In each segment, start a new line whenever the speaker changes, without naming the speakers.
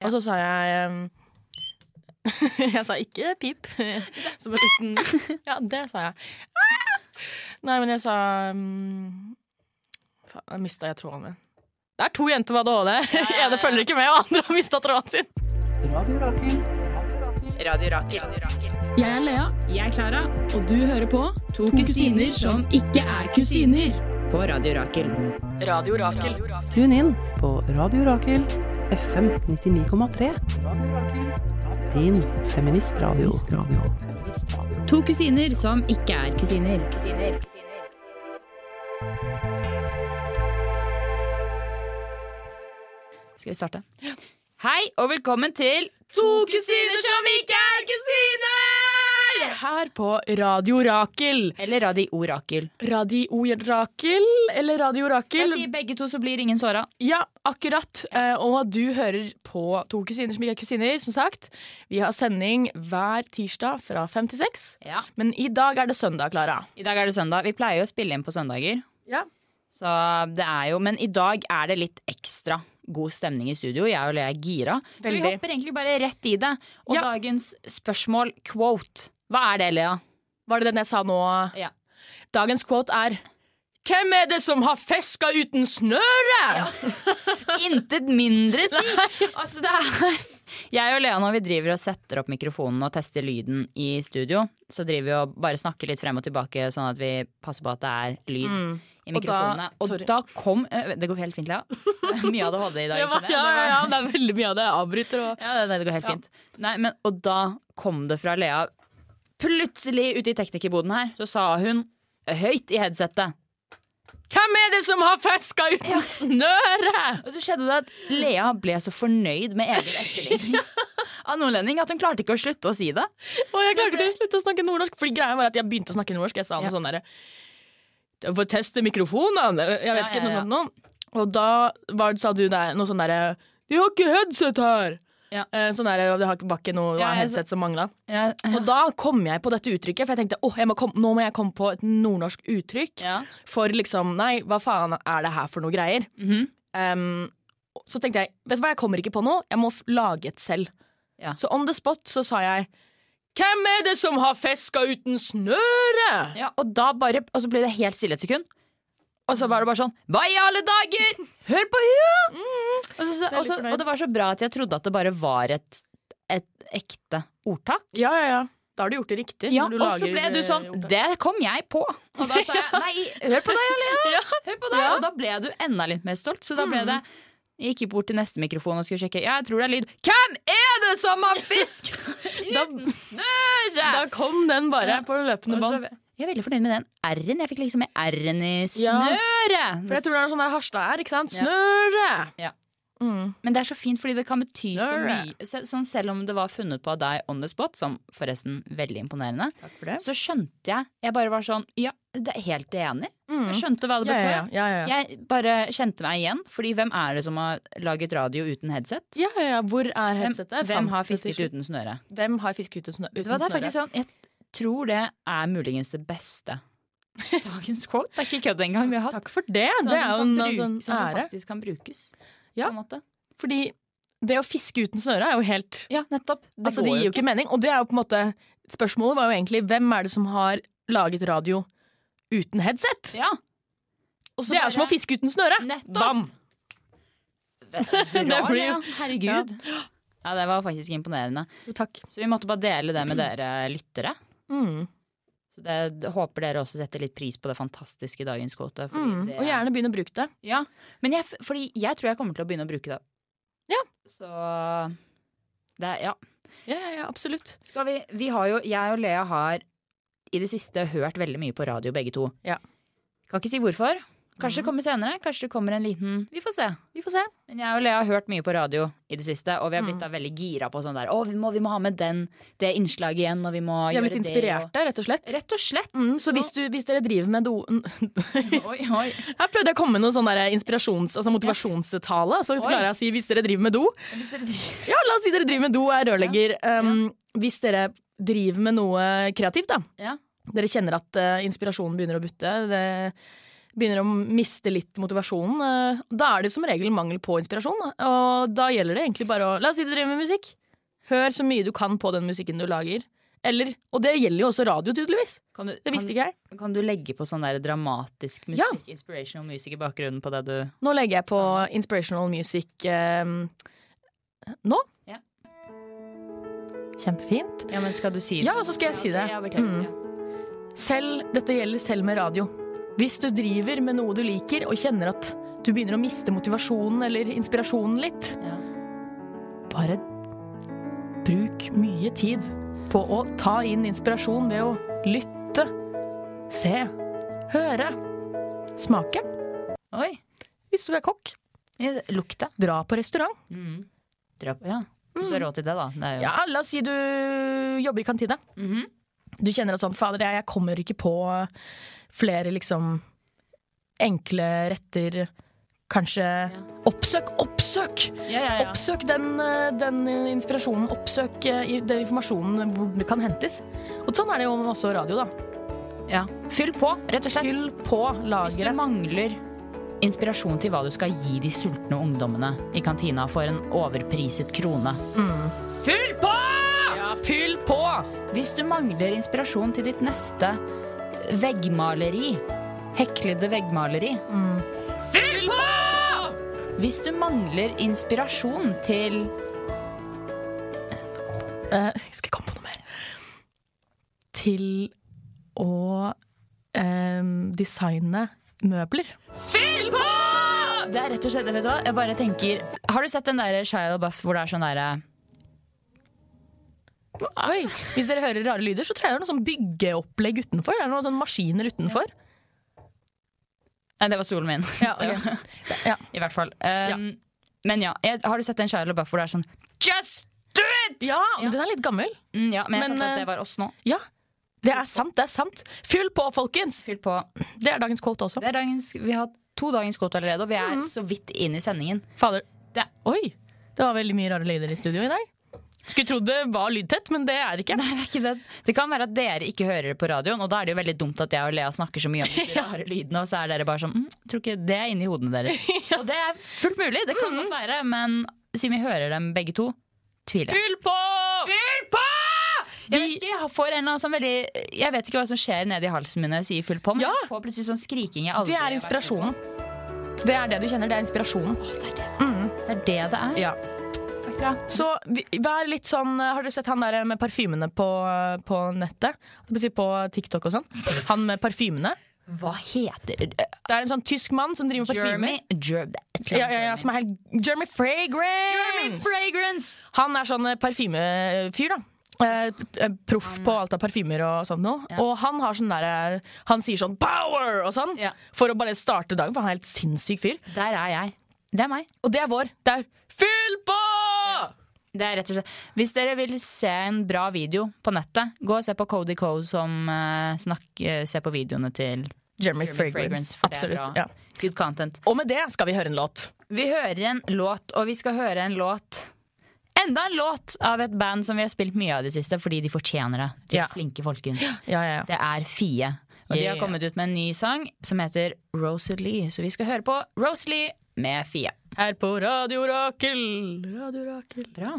Og så sa jeg ehm, Jeg sa ikke pip, som en liten miks. Ja, det sa jeg. Ah! Nei, men jeg sa ehm, Faen, jeg mista jeg tråden min. Det er to jenter med ADHD. Ene følger ikke med, og andre har mista tråden sin.
Radio Rakel.
Jeg er Lea. Jeg er Klara. Og du hører på To, kusiner som ikke er kusiner.
På Radio Rakel.
Radio Rakel.
Tune inn på Radio Rakel FM 99,3. Din feministradio.
To kusiner som
Ikke er kusiner. Kusiner.
Skal vi starte? Hei, og velkommen til To kusiner som ikke er kusiner!
Her på Radio Rakel.
Eller Radio Rakel.
Radio Rakel eller Radio
Jeg
Rakel?
sier begge to, så blir ingen såra.
Ja, akkurat. Eh, Og du hører på To kusiner som ikke er kusiner, som sagt. Vi har sending hver tirsdag fra fem til seks.
Ja.
Men i dag er det søndag, Klara.
I dag er det søndag. Vi pleier jo å spille inn på søndager.
Ja.
Så det er jo, Men i dag er det litt ekstra god stemning i studio. Jeg og Lea er gira. Så vi
Veldig.
hopper egentlig bare rett i det. Og
Ja.
dagens spørsmål, quote. Hva er det, Lea?
Var det den jeg sa nå?
Ja.
Dagens quote er Hvem er det som har fiska uten snøre?
Intet mindre, si! Altså, det er Jeg og Lea, når vi driver og setter opp mikrofonen og tester lyden i studio, så driver vi og bare snakker litt frem og tilbake, sånn at vi passer på at det er
Mm.
lyd. I
Og da-
mikrofonene. Og
sorry.
da kom øh, Det går helt fint, Lea. Mye av det hadde i dag.
Det var, ja,
skjønner jeg. Det
ja,
var-
ja, det er veldig mye av det. Jeg avbryter og
Ja, det, det går helt fint. Nei, men, og da kom det fra Lea. Plutselig ute i teknikerboden her, så sa hun høyt i headsetet.
Hvem er det som har fiska uten snøre?
Og så skjedde det at Lea ble så fornøyd med egen etterligning av nordlending at hun klarte ikke å slutte å si det.
Og jeg klarte ikke å slutte å snakke nordnorsk, Fordi greia var at jeg begynte å snakke nordnorsk. Jeg sa noe
Ja.
sånn derre «Du får teste mikrofonene, eller jeg vet
Ja,
ikke,
ja,
noe
ja.
sånt noe. Og da var, sa du der, noe sånn derre De har ikke headset her!
Ja.
Eh, Sånn der, det har ikke- var ikke noe det var
Ja, jeg-
headset som mangla.
Ja,
Og da kom jeg på dette uttrykket, for jeg tenkte åh, jeg må komme, nå må jeg komme på et nordnorsk uttrykk.
ja.
For liksom, nei, hva faen er det her for noe greier?
Mhm.
Ehm, så tenkte jeg, vet du hva, jeg kommer ikke på noe, jeg må f- lage et selv.
Ja.
Så on the spot så sa jeg, hvem er det som har fiska uten snøre?
ja og da bare Og så ble det helt stille et sekund. Og så var det bare sånn Hva i alle dager?! Hør på henne! Og, så, og, så,
fornøyd.
og det var så bra at jeg trodde at det bare var et, et ekte ordtak.
Ja, ja, ja. Da har du gjort det riktig.
Ja,
når du
og så
lager,
ble du
eh,
sånn
ordtak.
Det kom jeg på! Og da sa jeg nei, hør på deg, Lea! Hør på deg.
Ja. Mm.
Og da ble du enda litt mer stolt. Så da ble det jeg gikk bort til neste mikrofon og skulle sjekke. Ja, jeg tror det er lyd. Hvem er det som har fisk uten snøre?!
Da kom den bare på løpende
Og så-
bånd.
jeg er veldig fornøyd med den r-en. Jeg fikk liksom med r-en i
Ja.
snøret.
For jeg tror det er sånn der Harstad er, ikke sant? Snøre!
Ja.
Mm.
Men det er så fint, fordi det kan bety så
Snøret.
mye. Se- Sånn selv om det var funnet på av deg on the spot, som forresten veldig imponerende,
Takk for det.
så skjønte jeg Jeg bare var sånn Ja, det er helt enig.
Mm.
Jeg skjønte hva det
Ja, ja,
betød.
ja, ja, ja.
Jeg bare kjente meg igjen, fordi hvem er det som har laget radio uten headset?
Ja, ja, ja. Hvor er
Hvem,
headsetet?
hvem har
Fant det til
fisket uten snøre?
slutt. Hvem har fisket uten, snø
Vet
uten
du hva, det er
snøre?
faktisk sånn, Jeg tror det er muligens det beste. Dagens quote det er ikke kødd engang. Vi har hatt
Takk for det.
Sånn
det er
som
jo
kan
en
bruk-
altså,
sånn som
ære.
faktisk kan brukes.
Ja.
På en måte.
Fordi det å fiske uten snøre er jo helt
ja, nettopp. Det
Altså, det
går
gir jo ikke mening. Og det er jo på en måte Spørsmålet var jo egentlig hvem er det som har laget radio uten headset?
Ja. Og så
det er jo
bare-
som å fiske uten snøre!
Nettopp.
Bam!
Bra,
blir jo-
Lea. Herregud. Ja. det var faktisk imponerende.
Jo, takk.
Så vi måtte bare dele det med dere lyttere.
Mm.
Så det, det håper dere også setter litt pris på det fantastiske i dagens kvote. fordi
Mm.
det
Og
er-
gjerne begynn å bruke det.
Ja, men jeg, fordi jeg tror jeg kommer til å begynne å bruke det.
Ja.
Så det er, ja.
Ja, ja, ja, absolutt.
Skal vi, vi har jo, jeg og Lea har i det siste hørt veldig mye på radio begge to.
Ja.
Kan ikke si hvorfor. Kanskje det kommer senere, kanskje det kommer en liten Mhm. Vi får se.
Vi får se.
Men jeg og Lea har hørt mye på radio i det siste, og vi har blitt
Mm.
da veldig gira på sånn der Å, vi må, vi må ha med den, det innslaget igjen, og vi må
Vi
gjøre
har blitt
det.
inspirerte, rett og slett.
og- Rett og slett.
Mm, så hvis, du, hvis dere driver med do... Hvis-
Oi, oi.
Her prøvde jeg å komme med noen sånn der inspirasjons, altså motivasjonstale. Så klarer jeg å si hvis dere driver med do. Ja, la oss si dere driver med do og er rørlegger. Um, Hvis dere driver med noe kreativt, da.
Ja.
Dere kjenner at eh, inspirasjonen begynner å butte. Det, begynner å miste litt motivasjonen, eh, da er det som regel mangel på inspirasjon. da. Og da gjelder det egentlig bare å La oss si du driver med musikk. Hør så mye du kan på den musikken du lager. Eller, og det gjelder jo også radio, tydeligvis.
Kan du,
Det
kan,
visste ikke jeg.
kan du legge på sånn der dramatisk musikk,
Ja.
inspirational musikk i bakgrunnen på det du
Nå legger jeg på
Sånn.
inspirational music eh, nå.
Ja.
Kjempefint.
Ja, men skal du si det?
Ja, så skal jeg si det.
Ja, beklager.
Mm.
Ja.
Selv, dette gjelder selv med radio. Hvis du driver med noe du liker og kjenner at du begynner å miste motivasjonen eller inspirasjonen litt,
Ja.
bare bruk mye tid på å ta inn inspirasjon ved å lytte, se, høre, smake.
Oi.
Hvis du er kokk,
Ja, Lukta.
dra på restaurant.
Mm. Dra på, ja. Hvis du har råd til det, da. Det er jo.
Ja, la oss si du jobber i kantine.
Mhm.
Du kjenner at sånn, fader, jeg jeg kommer ikke på flere liksom enkle retter. Kanskje Oppsøk! Oppsøk!
ja, ja, ja.
Oppsøk den, eh, den inspirasjonen. Oppsøk eh, i- den informasjonen hvor det kan hentes. Og sånn er det jo med også radio, da.
Ja. Fyll på, rett og slett.
Fyll på
Hvis du
lageret.
mangler inspirasjon til hva du skal gi de sultne ungdommene i kantina for en overpriset krone. Fyll på!
Ja, fyll på!
Hvis du mangler inspirasjon til ditt neste veggmaleri, heklede veggmaleri Fyll på! Hvis du mangler inspirasjon til
Eh, skal jeg komme på noe mer? Til å eh, designe møbler.
Fyll på! Det er rett og slett, vet du hva, jeg bare tenker Har du sett den der Shia LaBeouf hvor det er sånn derre
Oi. Hvis dere hører rare lyder, så tror jeg det er noe sånn byggeopplegg utenfor. Det er noen sånne maskiner utenfor.
Nei, det var stolen min.
Ja, ok. ja.
I hvert fall. Um, Men ja, jeg, har du sett den Shia LaBeouf hvor det er sånn Just do it!
ja den er litt gammel.
Mm, ja, men jeg
Men,
følte
eh,
at det var oss nå.
Ja. Det er sant, det er sant. Fyll på, folkens!
Fyll på.
Det er dagens quote også.
Det er dagens, vi har to dagens kvote allerede, og vi er så vidt inne i sendingen.
Fader.
Det-
Oi! Det var veldig mye rare lyder i studio i dag. Skulle trodd det var lydtett, men det er det ikke.
Nei, det er ikke det. Det kan være at dere ikke hører det på radioen, og da er det jo veldig dumt at jeg og Lea snakker så mye om disse rare lydene, og så er dere bare sånn mm, Tror ikke det er inni hodene deres. Og det er fullt mulig, det kan godt være, men siden vi hører dem begge to, tviler jeg.
Fyll på!
Fyll på! Jeg vet, ikke, jeg, får en eller annen sånn veldig, jeg vet ikke hva som skjer nedi halsen min når jeg sier full på, men
Ja.
jeg får plutselig sånn skriking jeg aldri
Det er inspirasjonen. Det er det du kjenner. Det er inspirasjonen.
Det er det det er.
Ja.
Takk Lea.
Så vi- vær litt sånn Har dere sett han der med parfymene på, på nettet? Jeg vil si På TikTok og sånn. Han med parfymene.
Hva heter det?
Det er en sånn tysk mann som driver med parfymer.
Jeremy? Jer det er et eller
Ja,
annet
ja, ja, som er helt Jeremy Fragrance!
Jeremy Fragrance!
Han er sånn eh, parfymefyr, da. Eh, p- eh, proff på alt av parfymer og sånt noe.
Ja.
Og han har sånn der, eh, Han sier sånn 'power' og sånn
Ja.
for å bare starte dagen, for han er helt sinnssyk fyr.
Der er jeg. Det er meg.
Og det er vår. Det er fyll på!
Det er rett og slett. Hvis dere vil se en bra video på nettet, gå og se på Cody Coe som eh, snakk- eh, ser på videoene til
Jeremy,
Jeremy
Fragrance.
Fragrance. for det er
Absolutt.
bra.
Ja.
Good content.
Og med det skal vi høre en låt.
Vi hører en låt, og vi skal høre en låt Enda en låt av et band som vi har spilt mye av i det siste, fordi de fortjener det. De er
Ja.
flinke, folkens.
Ja, ja, ja.
Det er Fie. Og de
Yeah.
har kommet ut med en ny sang som heter Rosalie. Så vi skal høre på Rosalie med Fie.
Her på Radio Rakel. Radio Rakel.
Bra.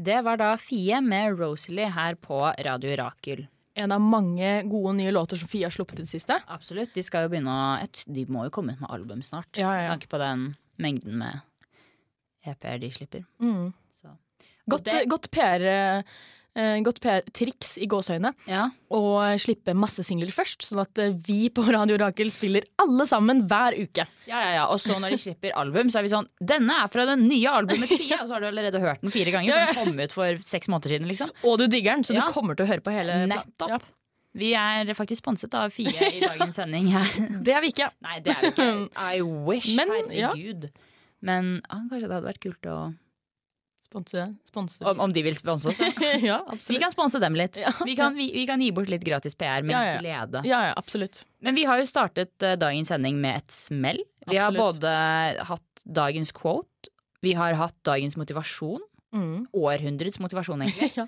Det var da Fie med Rosalie her på Radio Rakel.
En av mange gode nye låter som Fie har sluppet i det siste.
Absolutt. De skal jo begynne å jeg t- De må jo komme ut med album snart.
Ja, ja, ja.
Med tanke på den mengden med EP-er de slipper.
Mm.
Så.
Godt,
Og det-
eh, godt PR, eh, godt PR-triks i gåseøyne
Ja.
å slippe masse singler først, sånn at eh, vi på Radio Rakel spiller alle sammen hver uke.
ja, ja, ja. Og så når de slipper album, så er vi sånn Denne er fra den nye albumet Fie! Og så har du allerede hørt den fire ganger, for den kom ut for seks måneder siden, liksom.
Og du digger den, så
Ja.
du kommer til å høre på hele
Nettopp.
Ja,
Vi er faktisk sponset av Fie i dagens sending her.
det er vi ikke.
Nei, det er vi ikke. I wish,
Men, ja.
herregud. Men ah, kanskje det hadde vært kult å
Sponse. sponse.
Om, om de vil sponse oss, da.
ja,
Vi
absolutt.
kan sponse dem litt.
Ja.
Vi, kan, vi, vi kan gi bort litt gratis PR med
Ja, ja.
glede.
Ja, ja, absolutt.
Men vi har jo startet eh, dagens sending med et smell. Vi har
Absolutt.
både hatt dagens quote, vi har hatt dagens motivasjon.
Mm.
Århundrets motivasjon, egentlig.
Ja.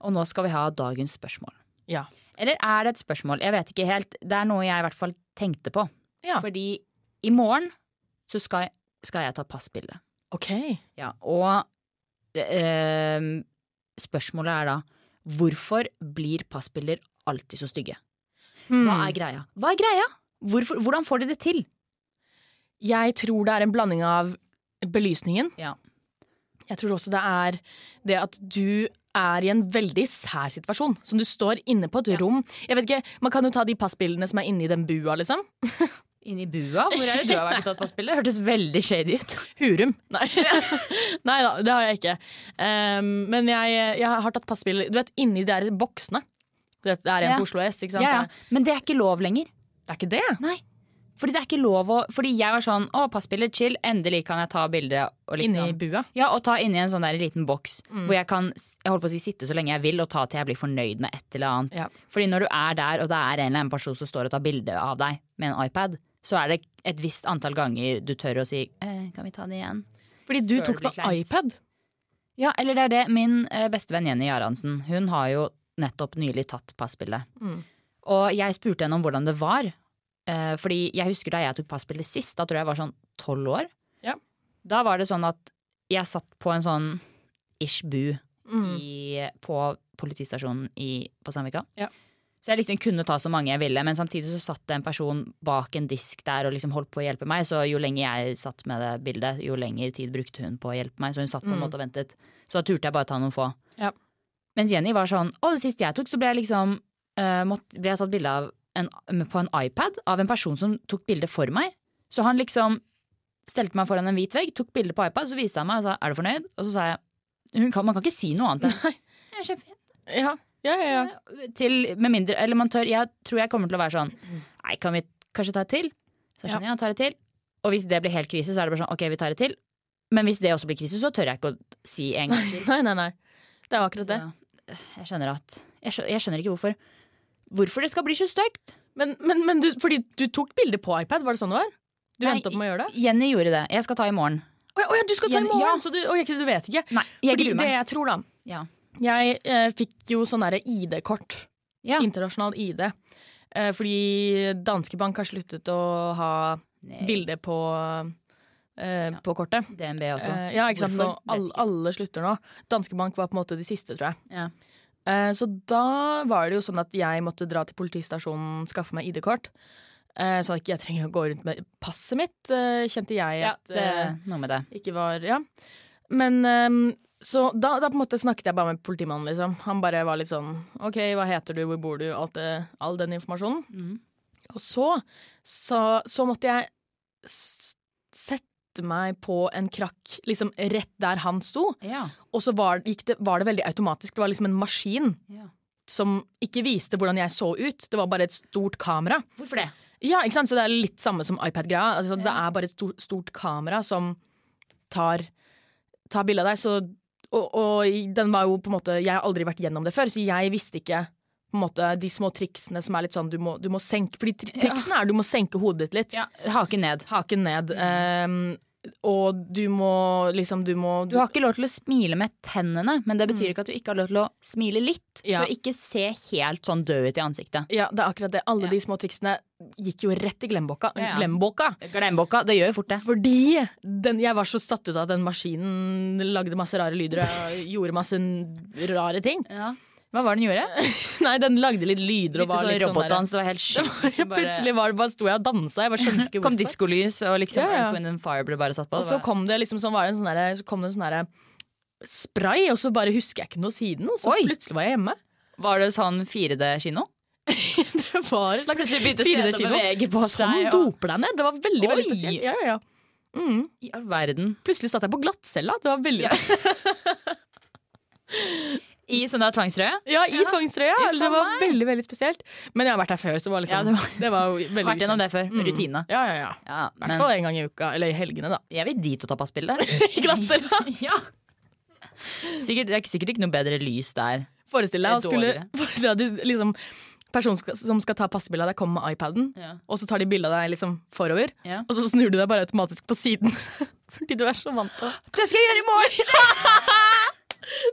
Og nå skal vi ha dagens spørsmål.
Ja.
Eller er det et spørsmål? Jeg vet ikke helt. Det er noe jeg i hvert fall tenkte på.
Ja.
Fordi i morgen så skal, skal jeg ta passbilde.
OK.
Ja, og eh, spørsmålet er da Hvorfor blir passbilder alltid så stygge?
Mm.
Hva er greia? Hva er greia? Hvorfor, hvordan får de det til?
Jeg tror det er en blanding av belysningen.
Ja.
Jeg tror også det er det at du er i en veldig sær situasjon. Som du står inne på et rom. Jeg vet ikke, Man kan jo ta de passbildene som er inni den bua, liksom.
Inni bua? Hvor er det du har vært og tatt passbilde? Hørtes veldig shady ut.
Hurum. Nei, Nei da, det har jeg ikke. Ehm, men jeg, jeg har tatt passbilder Du vet, inni de der boksene. Du vet, det er en
Ja.
på Oslo S, ikke sant?
Ja, ja. Men det er ikke lov lenger.
Det er ikke det.
Nei. Fordi det er ikke lov å Fordi jeg var sånn Å, passbilder, chill. Endelig kan jeg ta bilde. og Liksom,
Inni bua.
Ja, og ta inni en sånn der liten boks
Mm.
hvor jeg kan s- jeg holdt på å si, sitte så lenge jeg vil og ta til jeg blir fornøyd med et eller annet.
Ja.
Fordi når du er der, og det er en eller annen person som står og tar bilde av deg med en iPad, så er det et visst antall ganger du tør å si eh, Kan vi ta det igjen?
Fordi du
Før
tok
det blir
på
kleint.
iPad.
Ja, eller det er det. Min eh, bestevenn Jenny Jaransen, hun har jo nettopp nylig tatt passbildet.
Mm.
Og jeg spurte henne om hvordan det var. Eh, fordi jeg husker da jeg tok passbildet sist, da tror jeg jeg var sånn tolv år.
Ja.
Da var det sånn at jeg satt på en sånn ish bu
Mm.
i, på politistasjonen i, på Sandvika.
Ja.
Så jeg liksom kunne ta så mange jeg ville, men samtidig så satt det en person bak en disk der og liksom holdt på å hjelpe meg, så jo lenger jeg satt med det bildet, jo lengre tid brukte hun på å hjelpe meg. Så hun satt på en
Mm.
måte og ventet. Så da turte jeg bare ta noen få.
Ja.
Mens Jenny var sånn Å, sist jeg tok, så ble jeg liksom eh, måtte, Ble jeg tatt bilde av en, på en iPad av en person som tok bilde for meg. Så han liksom stelte meg foran en hvit vegg, tok bilde på iPad, så viste han meg og sa 'er du fornøyd?' Og så sa jeg hun kan, Man kan ikke si noe annet enn «Jeg er kjempefin».
Ja, ja, ja. ja.
til, med mindre, eller man tør, Jeg tror jeg kommer til å være sånn Nei, kan vi kanskje ta et til? Så jeg skjønner jeg, ja, tar et til. Og hvis det blir helt krise, så er det bare sånn OK, vi tar et til. Men hvis det også blir krise, så tør jeg ikke å si en gang til.
Nei, nei, nei. Det er akkurat det.
Så, jeg skjønner at jeg skjønner, jeg skjønner ikke hvorfor. Hvorfor det skal bli så stygt.
Men, men, men du, fordi du tok bilder på iPad, var det sånn det var? Du
Nei,
endte opp med å gjøre det?
Jenny gjorde det. Jeg skal ta i morgen.
Å ja, å ja, du skal ta i
Jenny-
morgen!
ja.
Så du, å, ikke, du vet ikke.
Nei, jeg
Fordi
gruer
det
meg.
jeg tror, da
Ja.
Jeg eh, fikk jo sånn derre ID-kort.
Ja.
Internasjonal ID. Eh, fordi Danske Bank har sluttet å ha
Nei,
bilde på, eh, på kortet.
DNB også.
Eh, ja, ikke sant. Nå,
Altså, Hvorfor? Vet
alle,
ikke.
alle slutter nå. Danske Bank var på en måte de siste, tror jeg.
Ja.
Eh, så da var det jo sånn at jeg måtte dra til politistasjonen, skaffe meg ID-kort. Eh, så ikke jeg trenger å gå rundt med passet mitt, eh, kjente jeg
Ja,
at
det,
eh,
noe med det.
ikke var Ja. Men ehm, så da, da på en måte snakket jeg bare med politimannen, liksom. Han bare var litt sånn OK, hva heter du, hvor bor du, alt det, all den informasjonen.
Mm.
Og så, så, så måtte jeg s- sette meg på en krakk liksom rett der han sto.
Ja.
Og så var, gikk det, var det veldig automatisk. Det var liksom en maskin
Ja.
som ikke viste hvordan jeg så ut. Det var bare et stort kamera.
Hvorfor det?
Ja, ikke sant? Så det er litt samme som iPad-greia. Altså, Det er bare et stor, stort kamera som tar, tar bilde av deg. Så, og, og i- den var jo på en måte Jeg har aldri vært gjennom det før, så jeg visste ikke på en måte, de små triksene som er litt sånn du må, du må senke Fordi tri triksene er du må senke hodet ditt litt.
Ja. Mm. Haken ned.
Haken ned. ehm, og du må liksom Du må
Du har ikke lov til å smile med tennene, men det betyr ikke at du ikke har lov til å smile litt.
Ja.
Så ikke se helt sånn død ut i ansiktet.
Ja, det er akkurat det. Alle
Ja.
de små triksene gikk jo rett i glemmeboka.
Ja, ja.
glemmeboka.
Glemmeboka, det gjør fort det.
Fordi den, jeg var så satt ut av at den maskinen lagde masse rare lyder og gjorde masse n- rare ting.
Hva var det den gjorde?
Nei, den lagde litt lyder og
Litt
var
sånn
litt sånn der-
robotdans, det var helt sjukt. Så bare-
Plutselig var det bare sto jeg og dansa. Jeg bare skjønte ikke
Kom
hvorfor.
diskolys, og liksom
Ja, ja.
Earth, Wind and Fire ble bare satt på.
Og så kom det liksom sånn, var det en sånn derre- så kom det en sånn derre spray, og så bare husker jeg ikke noe siden. Og så
Oi.
plutselig var jeg hjemme.
Var det sånn 4D-kino?
Det var et slags
Plutselig begynte setet å
4D-kino.
bevege på
Som
seg, og-
Sånn doper deg ned. Det var veldig, veldig
Oi.
spesielt. Ja, ja, ja. Mm.
I all verden.
Plutselig satt jeg på glattcella. Det var veldig
Ja. I sånn der tvangstrøye?
Ja, i tvangstrøya.
Uff a
Det var
meg.
veldig veldig spesielt. Men jeg har vært her før, så det var liksom,
Ja,
det
det
var, jo veldig
Vært
ukjent.
gjennom det før.
Mm.
Rutine.
Ja, ja, ja.
Ja,
I hvert
men
fall en gang i uka. Eller i helgene, da.
jeg vil dit og ta passbilde.
I glattcella.
ja. Sikkert, det er ikke- sikkert ikke noe bedre lys der.
Forestill deg å
Det er
skulle
dårligere.
forestill deg, at du, liksom, Personen skal, som skal ta passebilde av deg, kommer med iPaden,
Ja.
og så tar de bilde av deg liksom forover.
Ja.
Og så snur du deg bare automatisk på siden. Fordi du er så vant til å-
Det skal jeg gjøre i morgen!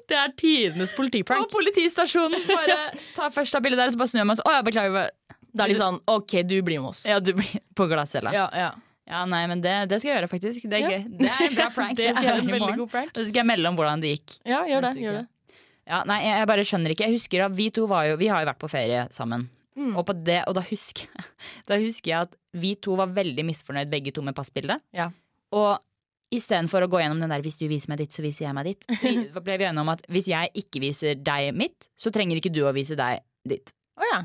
Det er tidenes
På
politiprank.
politistasjonen. Bare ta først av bildet der, og så bare snur jeg meg. og Så, å, jeg beklager. Bare.
Da er de sånn OK, du blir med oss.
Ja, du blir på glattcella. Ja.
Ja, ja.
nei, men det, det skal jeg gjøre, faktisk. Det er
Ja.
gøy. Det er en bra prank.
Det
det skal
er en
jeg gjøre i
veldig
morgen.
god prank.
Og så skal jeg melde om hvordan det gikk.
Ja, gjør det.
Neste
Gjør
uke.
det.
Ja, nei, jeg, jeg bare skjønner ikke. Jeg husker at Vi to var jo, vi har jo vært på ferie sammen.
Mm.
Og, på det, og da, husker, jeg- da husker jeg at vi to var veldig misfornøyd begge to med passbildet.
Ja.
Og istedenfor å gå gjennom den der 'hvis du viser meg ditt, så viser jeg meg ditt', så vi- da ble vi enige om at hvis jeg ikke viser deg mitt, så trenger ikke du å vise deg ditt.
Å ja.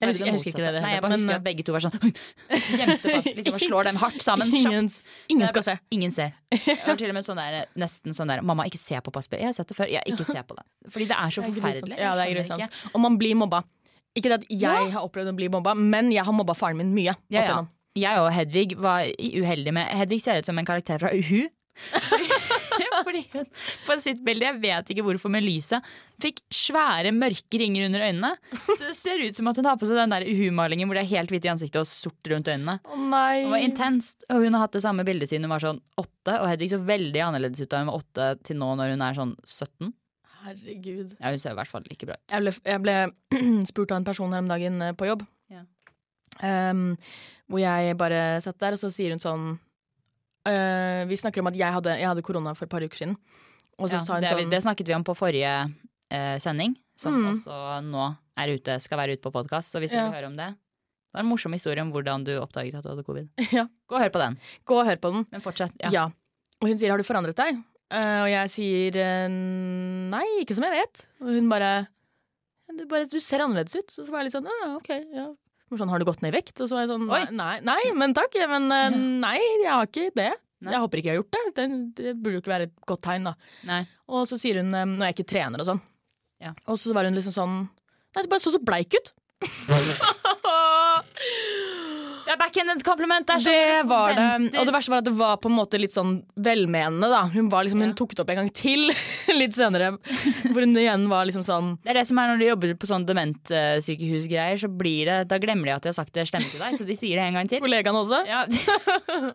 Var
Jeg husker, jeg husker ikke det.
motsatte?
det
Nei, jeg
heter,
bare husker
men, eh,
at begge to var sånn Gjemte pass, liksom, og slår dem hardt sammen. kjapt.
Ingen, ingen skal se.
Ingen ser. Jeg var til og med sånn der, nesten sånn der 'mamma, ikke se på passbildet'. Jeg har sett det før. Jeg ikke se på det. Fordi det er så
Det er grusomt.
forferdelig.
Ja, det er
Jeg skjønner ikke.
grusomt. Og man blir mobba. Ikke det at jeg har opplevd å bli mobba, men jeg har mobba faren min mye. opp
Ja, ja.
igjennom.
Jeg og Hedvig var uheldige med Hedvig ser ut som en karakter fra Uhu. Fordi hun på sitt bilde, jeg vet ikke hvorfor, med lyset fikk svære mørke ringer under øynene. Så det ser ut som at hun har på seg den der Uhu-malingen hvor det er helt hvitt i ansiktet og sort rundt øynene.
Å nei.
Det var intenst, og hun har hatt det samme bildet siden hun var sånn åtte. Og Hedvig så veldig annerledes ut da hun var åtte til nå når hun er sånn 17.
Herregud.
Ja, hun ser i hvert fall ikke bra ut.
Jeg ble, jeg ble spurt av en person her om dagen eh, på jobb.
Ja.
Ehm, hvor jeg bare satt der, og så sier hun sånn eh, Vi snakker om at jeg hadde, jeg hadde korona for et par uker siden. Og så
Ja,
sa hun
det, er vi-
sånn
det snakket vi om på forrige eh, sending, som
Mm.
også nå er ute, skal være ute på podkast. Så hvis
Ja.
dere hører om det Det var en morsom historie om hvordan du oppdaget at du hadde covid.
Ja.
Gå og hør på den.
Gå og hør på den.
Men fortsett.
Ja.
Ja.
Og hun sier 'har du forandret deg?' Eh, og jeg sier eh, 'nei, ikke som jeg vet'. Og hun bare du, bare 'du ser annerledes ut'. Så, så var jeg litt sånn «Ah, 'ok, ja'. Hun var Sånn, 'har du gått ned i vekt?' Og så var jeg sånn
Oi.
nei, nei, nei, men takk. Men eh, nei, jeg har ikke det.
Nei.
Jeg håper ikke jeg har gjort det. det. Det burde jo ikke være et godt tegn, da.
Nei.
Og så sier hun eh, når jeg ikke trener og sånn.
Ja.
Og så var hun liksom sånn Nei, du bare så så bleik ut.
Det er backhanded kompliment! Det, er sånn
Det
du
var det.
forventer.
Og det verste var at det var på en måte litt sånn velmenende, da. Hun, var liksom, hun
Ja.
tok det opp en gang til litt senere, hvor hun igjen var liksom sånn
det er det som er når du jobber på sånn dementsykehusgreier, så blir det Da glemmer de at de har sagt det stemmer til deg, så de sier det en gang til.
Kollegaen også?
Ja.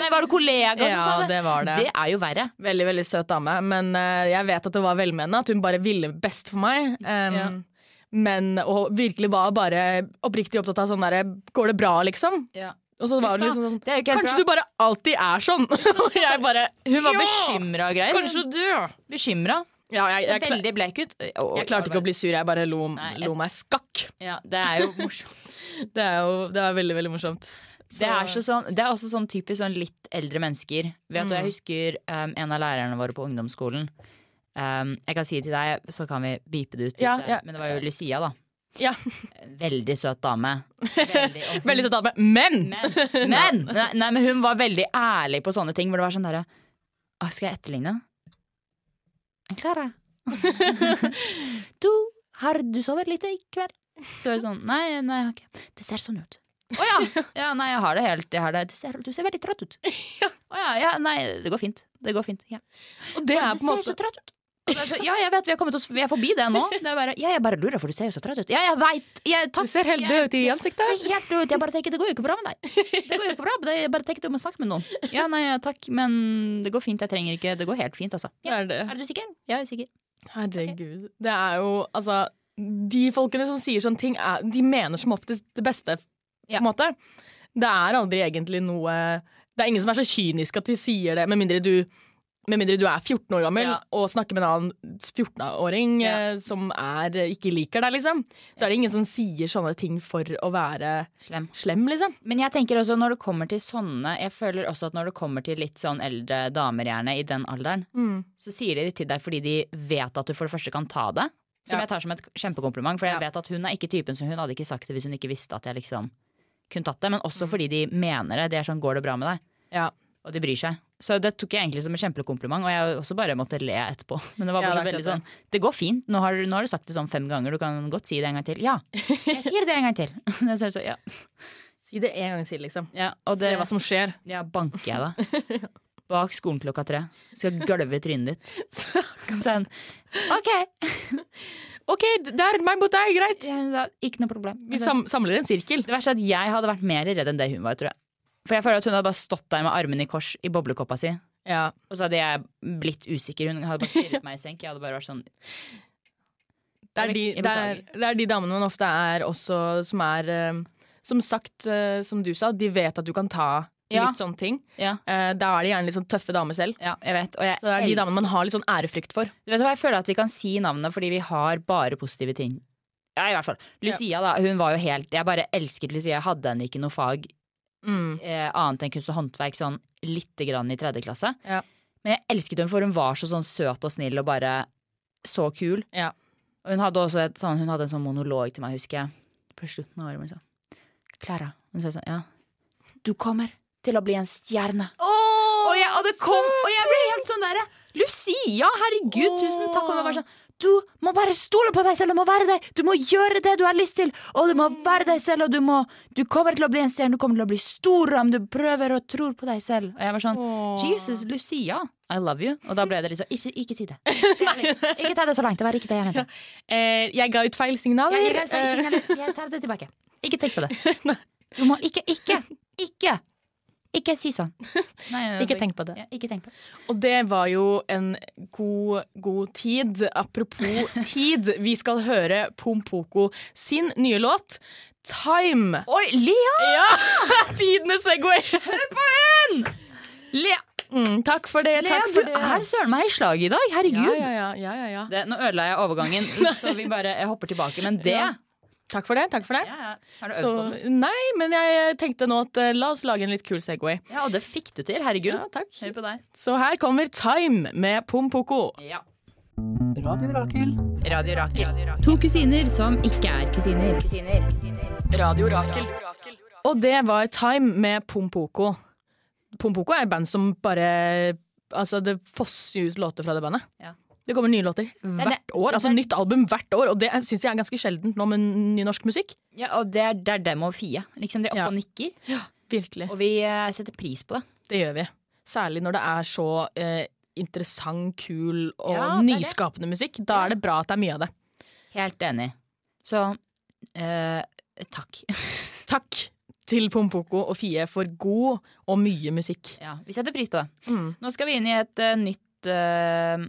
Nei, var det kollega som sa det?
var
Det er jo verre.
Veldig, veldig søt dame. Men eh, jeg vet at det var velmenende, at hun bare ville best for meg. Em,
Ja.
Men, og virkelig var bare oppriktig opptatt av sånn derre Går det bra, liksom? Og så var hun
Huff da,
liksom sånn
Det er jo ikke helt
Kanskje
bra.
du bare alltid er sånn? Og jeg bare
Hun var
Ja!
bekymra og greier.
Kanskje du
Bekymra.
Ja, jeg, jeg,
Så
jeg,
veldig blek ut.
jeg klarte ikke å bli sur, jeg bare lo,
Nei, jeg-
lo meg skakk.
ja, Det er jo morsomt.
Det er jo det er veldig, veldig morsomt.
Det er, så sånn, det er også sånn typisk sånn litt eldre mennesker. Vet du, Jeg husker um, en av lærerne våre på ungdomsskolen. Um, jeg kan si det til deg, så kan vi beepe det ut. hvis
Ja,
det-
ja.
Men det var jo Lucia, da.
Ja.
Veldig søt dame. Veldig, og hun-
Veldig søt dame. Mm. Men!
Men, men nei, nei, men hun var veldig ærlig på sånne ting. Hvor det var sånn derre «Å, Skal jeg etterligne? Jeg klarer det. du, har du sovet lite i kveld? Så er det sånn Nei, nei, jeg har ikke Det ser sånn ut. Å ja. ja! Nei, jeg har det helt. Jeg har det. Det ser, du ser veldig trøtt ut. Å ja, ja. Nei, det går fint. Det går fint. Ja.
Og det er
Du
på en
ser så
måte
trøtt ut. Og det er så, ja, jeg vet, vi er, kommet oss, vi er forbi det nå. Det er bare, ja, jeg bare lurer, for du ser jo så trøtt ut. Ja, jeg veit.
Du ser helt død ut i ansiktet.
Så helt ut. Jeg bare tenker, det går jo ikke bra med deg. Det går jo ikke bra med deg. Jeg bare tenker du må snakke med noen. Ja, nei, takk, men det går fint. Jeg trenger ikke Det går helt fint, altså.
Det
Ja.
er det.
Er du sikker? Ja, jeg er sikker.
Herregud. Det er jo altså De folkene som sier sånne ting, er, de mener som oftest det beste, på
Ja.
en måte. Det er aldri egentlig noe Det er ingen som er så kynisk at de sier det, med mindre du med mindre du er 14 år gammel
Ja.
og snakker med en annen 14-åring
Ja.
eh, som er, ikke liker deg, liksom, så er det ingen som sier sånne ting for å være
Slem.
slem, liksom.
Men jeg tenker også når det kommer til sånne Jeg føler også at når det kommer til litt sånn eldre damer gjerne i den alderen,
Mm.
så sier de det til deg fordi de vet at du for det første kan ta det. Som
Ja.
jeg tar som et kjempekompliment, for jeg
Ja.
vet at hun er ikke typen som hun hadde ikke sagt det hvis hun ikke visste at jeg liksom kunne tatt det. Men også
Mm.
fordi de mener det. De er sånn 'går det bra med deg'?
Ja.
Og de bryr seg. Så det tok jeg egentlig som en kjempekompliment, og jeg også bare måtte le etterpå. Men det var
Ja,
bare så
det er
veldig
akkurat
sånn Det går fint, nå har, du- nå har du sagt det sånn fem ganger, du kan godt si det en gang til. Ja, jeg sier det en gang til. Jeg ser så, ja.
Si det en gang til, liksom.
Ja, og
Se
det
hva som skjer.
ja, banker jeg da. Bak skolen klokka tre. Skal gølve trynet ditt. Sånn. Ok.
OK, det er meg mot deg, greit.
Jeg sa, Ikke noe problem. Altså,
Vi sam samler en sirkel.
Det verste er at jeg hadde vært mer redd enn det hun var, tror jeg. For jeg føler at hun hadde bare stått der med armene i kors i boblekoppa si.
Ja.
Og så hadde jeg blitt usikker. Hun hadde bare stirret meg i senk. Jeg hadde bare vært sånn
Det er, de,
Jeg
det,
beklager.
er, det er de damene man ofte er også som er eh, Som sagt, eh, som du sa, de vet at du kan ta
Ja.
litt sånne ting.
Ja.
Eh, da er de gjerne litt sånn tøffe damer selv.
Ja, jeg vet. Og jeg
Så det er de
elsker-
damene man har litt sånn ærefrykt for.
Vet du hva, Jeg føler at vi kan si navnet fordi vi har bare positive ting. Ja, i hvert fall. Lucia, da. Hun var jo helt Jeg bare elsket Lucia. Jeg hadde henne ikke noe fag
Mm.
eh, annet enn kunst og håndverk sånn lite grann i tredje klasse.
Ja.
Men jeg elsket henne for hun var så sånn søt og snill og bare så kul.
Ja.
Og hun hadde også et sånn, hun hadde en sånn monolog til meg, husker jeg, på slutten av året. hvor Hun sa Klara. Hun sa sånn, ja. Du kommer til å bli en stjerne. og, jeg, og det kom, og jeg ble helt sånn derre Lucia, herregud, tusen takk. Og hun var bare sånn Du må bare stole på deg selv, du må være deg. Du må gjøre det du har lyst til, og du må være deg selv, og du må Du kommer til å bli en stjerne, du kommer til å bli stor om du prøver og tror på deg selv. Og jeg var sånn Jesus, Lucia, I love you. Og da ble det litt sånn Ikke, ikke si det. Ikke ta det så langt. Det var ikke det jeg mente.
Eh, jeg ga ut feil signaler.
Jeg, gir deg feil signal.
eh.
jeg tar det tilbake. Ikke tenk på det. Du må ikke, ikke, ikke. Ikke si sånn.
Eh, ikke tenk på det.
Ja, ikke tenk på det.
Og det var jo en god, god tid. Apropos tid, vi skal høre Pompoko sin nye låt. Time!
Oi, Lea!
Ja! Tidenes Segway!
Lea,
Mm, takk for det.
Lea
Takk
du
for det.
er søren meg i slaget i dag.
Ja,
Herregud.
ja, ja, ja, ja, ja.
Det, nå ødela jeg overgangen, så vi bare jeg hopper tilbake. Men det
Ja. Takk for det. takk for det.
Har du øvd
Så,
på den?
nei, men jeg tenkte nå at eh, la oss lage en litt kul Segway.
Ja, og det fikk du til. Herregud.
Ja, takk.
Hør på deg.
Så her kommer Time med Pompoko.
Ja.
Radio Rakel.
Radio Rakel.
To kusiner som ikke er kusiner.
Radio Rakel. Og det var Time med Pompoko. Pompoko er et band som bare Altså, det fosser ut låter fra det bandet.
Ja.
Det kommer nye låter hvert år. Altså nytt album hvert år, og det syns jeg er ganske sjeldent nå med ny norsk musikk.
Ja, og det er, det er dem og Fie. Liksom, de er oppe
Ja.
og nikker.
Virkelig.
Og vi eh, setter pris på det.
Det gjør vi. Særlig når det er så eh, interessant, kul og
Ja, det er det.
nyskapende musikk. Da er det bra at det er mye av det.
Helt enig. Så eh, takk.
Takk til Pompoko og Fie for god og mye musikk.
Ja, vi setter pris på det.
Mm.
Nå skal vi inn i et eh, nytt eh,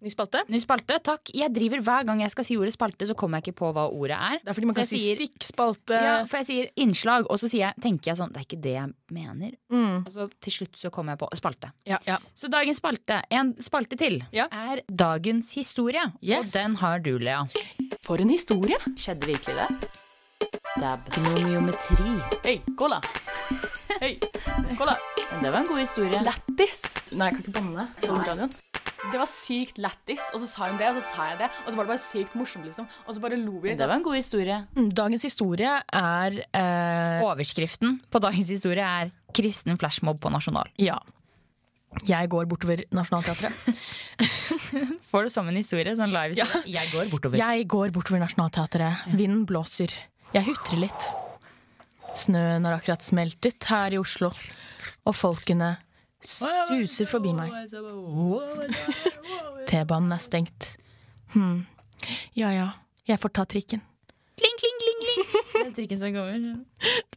Ny spalte.
ny spalte. Takk. Jeg driver Hver gang jeg skal si ordet spalte, så kommer jeg ikke på hva ordet er.
Det er fordi man
Så
kan
jeg
si
sier-
stikkspalte.
Ja, for jeg sier innslag, og så sier jeg, tenker jeg sånn Det er ikke det jeg mener.
Mm.
Og så til slutt så kommer jeg på spalte.
ja, ja.
Så dagens spalte, en spalte til,
Ja.
er dagens historie.
Yes.
Og den har du, Lea.
For en historie!
Skjedde virkelig det? Dab. Gnomiometri.
Hei, cola! Hei, cola!
Det var en god historie.
Lættis! Nei, jeg kan ikke banne på radioen. Det var sykt lættis, og så sa hun det, og så sa jeg det. Og så var det bare sykt morsomt, liksom. Og så bare lo vi.
var en god historie.
Mm, Dagens historie er eh,
Overskriften på dagens historie er 'Kristen flashmob på Nasjonal'.
Ja. Jeg går bortover Nationaltheatret.
Får det som en historie, sånn live historie. Jeg går bortover.
Jeg går bortover Nationaltheatret. Vinden blåser. Jeg hutrer litt. Snøen har akkurat smeltet her i Oslo, og folkene stuser forbi meg. T-banen er stengt. Hm. Ja ja, jeg får ta trikken.
Kling, kling, kling, kling. Det er trikken som kommer.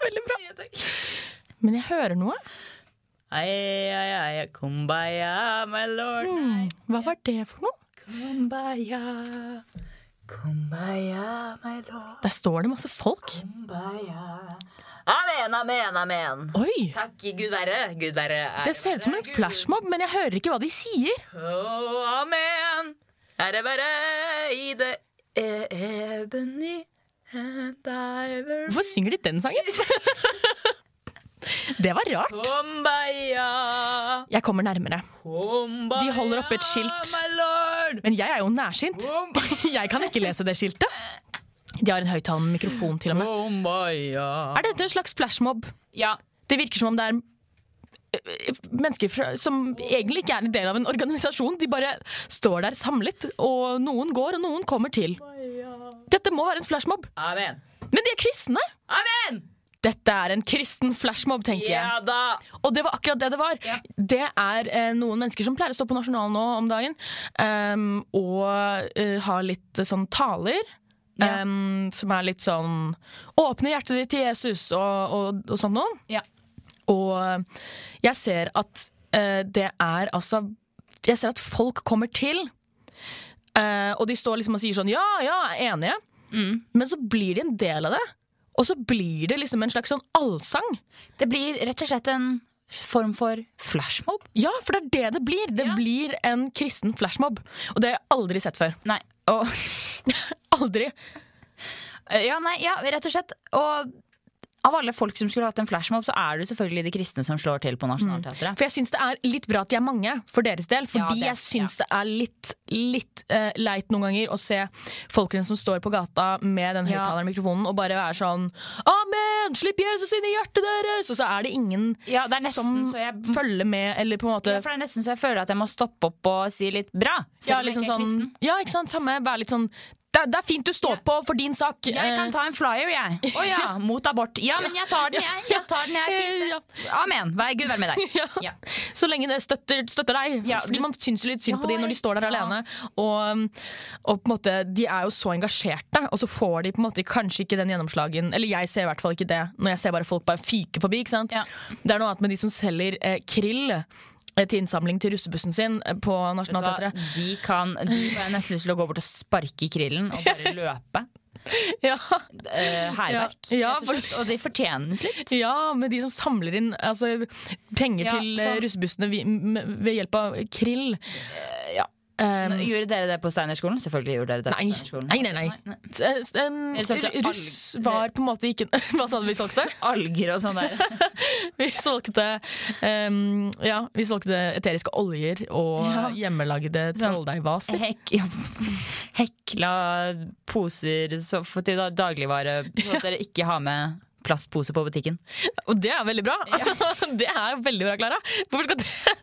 Veldig bra. Ja, takk.
Men jeg hører noe.
Ai, ai, ai, kumbaya, my lord.
Hmm. Hva var det for noe?
Kumbaya. Kumbaya, my lord.
Der står det masse folk.
Kumbaya. Amen, amen, amen.
Oi!
Takk, Gud være. Gud være. ære
Det ser ut som en
være Gud.
flashmob, men jeg hører ikke hva de sier.
Å, amen. Ære være i det e- ebony and diver.
Hvorfor synger de den sangen? Det var rart.
Kumbaya.
Jeg kommer nærmere.
Kumbaya.
De holder opp et skilt.
My lord.
Men jeg er jo nærsynt. Jeg kan ikke lese det skiltet. De har en høyttalende mikrofon til og med.
Kumbaya.
Er dette en slags flashmob?
Ja.
Det virker som om det er øh, mennesker fra, som egentlig ikke er en del av en organisasjon. De bare står der samlet, og noen går, og noen kommer til. Dette må være en flashmob.
Amen.
Men de er kristne!
Amen!
Dette er en kristen flashmob, tenker jeg.
Ja da.
Og det var akkurat det det var. Det er eh, noen mennesker som pleier å stå på Nasjonalen nå om dagen em, og eh, ha litt eh, sånn taler.
Ja.
em, som er litt sånn Åpne hjertet ditt til Jesus og, og, og sånt noe.
Ja.
Og jeg eh, ser at eh, det er altså Jeg ser at folk kommer til. Eh, og de står liksom og sier sånn ja, ja, jeg er enige. Men så blir de en del av det. Og så blir det liksom en slags sånn allsang.
Det blir rett og slett en form for flashmob.
Ja, for det er det det blir. Det blir en kristen flashmob. Og det har jeg aldri sett før.
Nei, og,
Aldri.
ja, nei, ja, rett og slett. Og av alle folk som skulle hatt en flashmob, så er det selvfølgelig de kristne som slår til på Nationaltheatret.
Mm. For jeg syns det er litt bra at de er mange, for deres del. Fordi
Ja, det-
jeg syns det er litt, litt eh, leit noen ganger å se folkene som står på gata med den
Ja.
høyttaleren i mikrofonen og bare være sånn Amen! Slipp Jesus inn i hjertet deres! Og så er det ingen
Ja, det er nesten
som
så jeg
følger med, eller på en måte
ja, for det er nesten så jeg føler at jeg må stoppe opp og si litt bra.
ja,
Selv om jeg
liksom
ikke er
sånn,
kristen.
ja, ikke sant? Samme. Vær litt sånn det, det er fint du står på for din sak.
Jeg kan
Eh,
ta en flyer, jeg. Å ja, mot abort. Ja, men jeg tar den, jeg. Jeg tar den, jeg. Fint.
eh, ja.
Amen. Vær Gud være med deg.
Ja.
Ja.
Så lenge det støtter, støtter deg.
Ja,
Fordi
du-
Man syns jo litt synd på
Ja,
de når de står der
ja.
alene. Og, um, og på en måte, De er jo så engasjerte, og så får de på en måte kanskje ikke den gjennomslagen. Eller jeg ser i hvert fall ikke det, når jeg ser bare folk bare fyke forbi. ikke sant?
Ja.
Det er noe annet med de som selger eh, krill eh, til innsamling til russebussen sin eh, på
Vet du hva?
Nationaltheatret.
De kan De får jeg nesten lyst til å gå bort og sparke i krillen og bare løpe.
Ja.
Eh, Hærverk.
Ja,
rett og, slett. og de fortjener slikt.
ja, med de som samler inn altså, penger
Ja,
til eh,
så-
russebussene vi- m- ved hjelp av krill.
Eh, ja.
Um,
Gjorde dere det på Steinerskolen? Selvfølgelig gjorde dere det.
Nei.
på Steinerskolen.
Nei, nei, nei. Eh, s- em,
Eller solgte
r- Russ var på en måte ikke Hva sa du vi solgte?
Alger og sånn der.
Vi solgte, em, ja, vi solgte eteriske oljer og
Ja. Sånn. Eh,
hjemmelagde trolldeigvaser.
Hek, ja. Hekla poser så, for til da- dagligvare, så at dere ikke har med plastpose på butikken.
Og det er veldig bra! det er veldig bra, Klara. Hvorfor skal det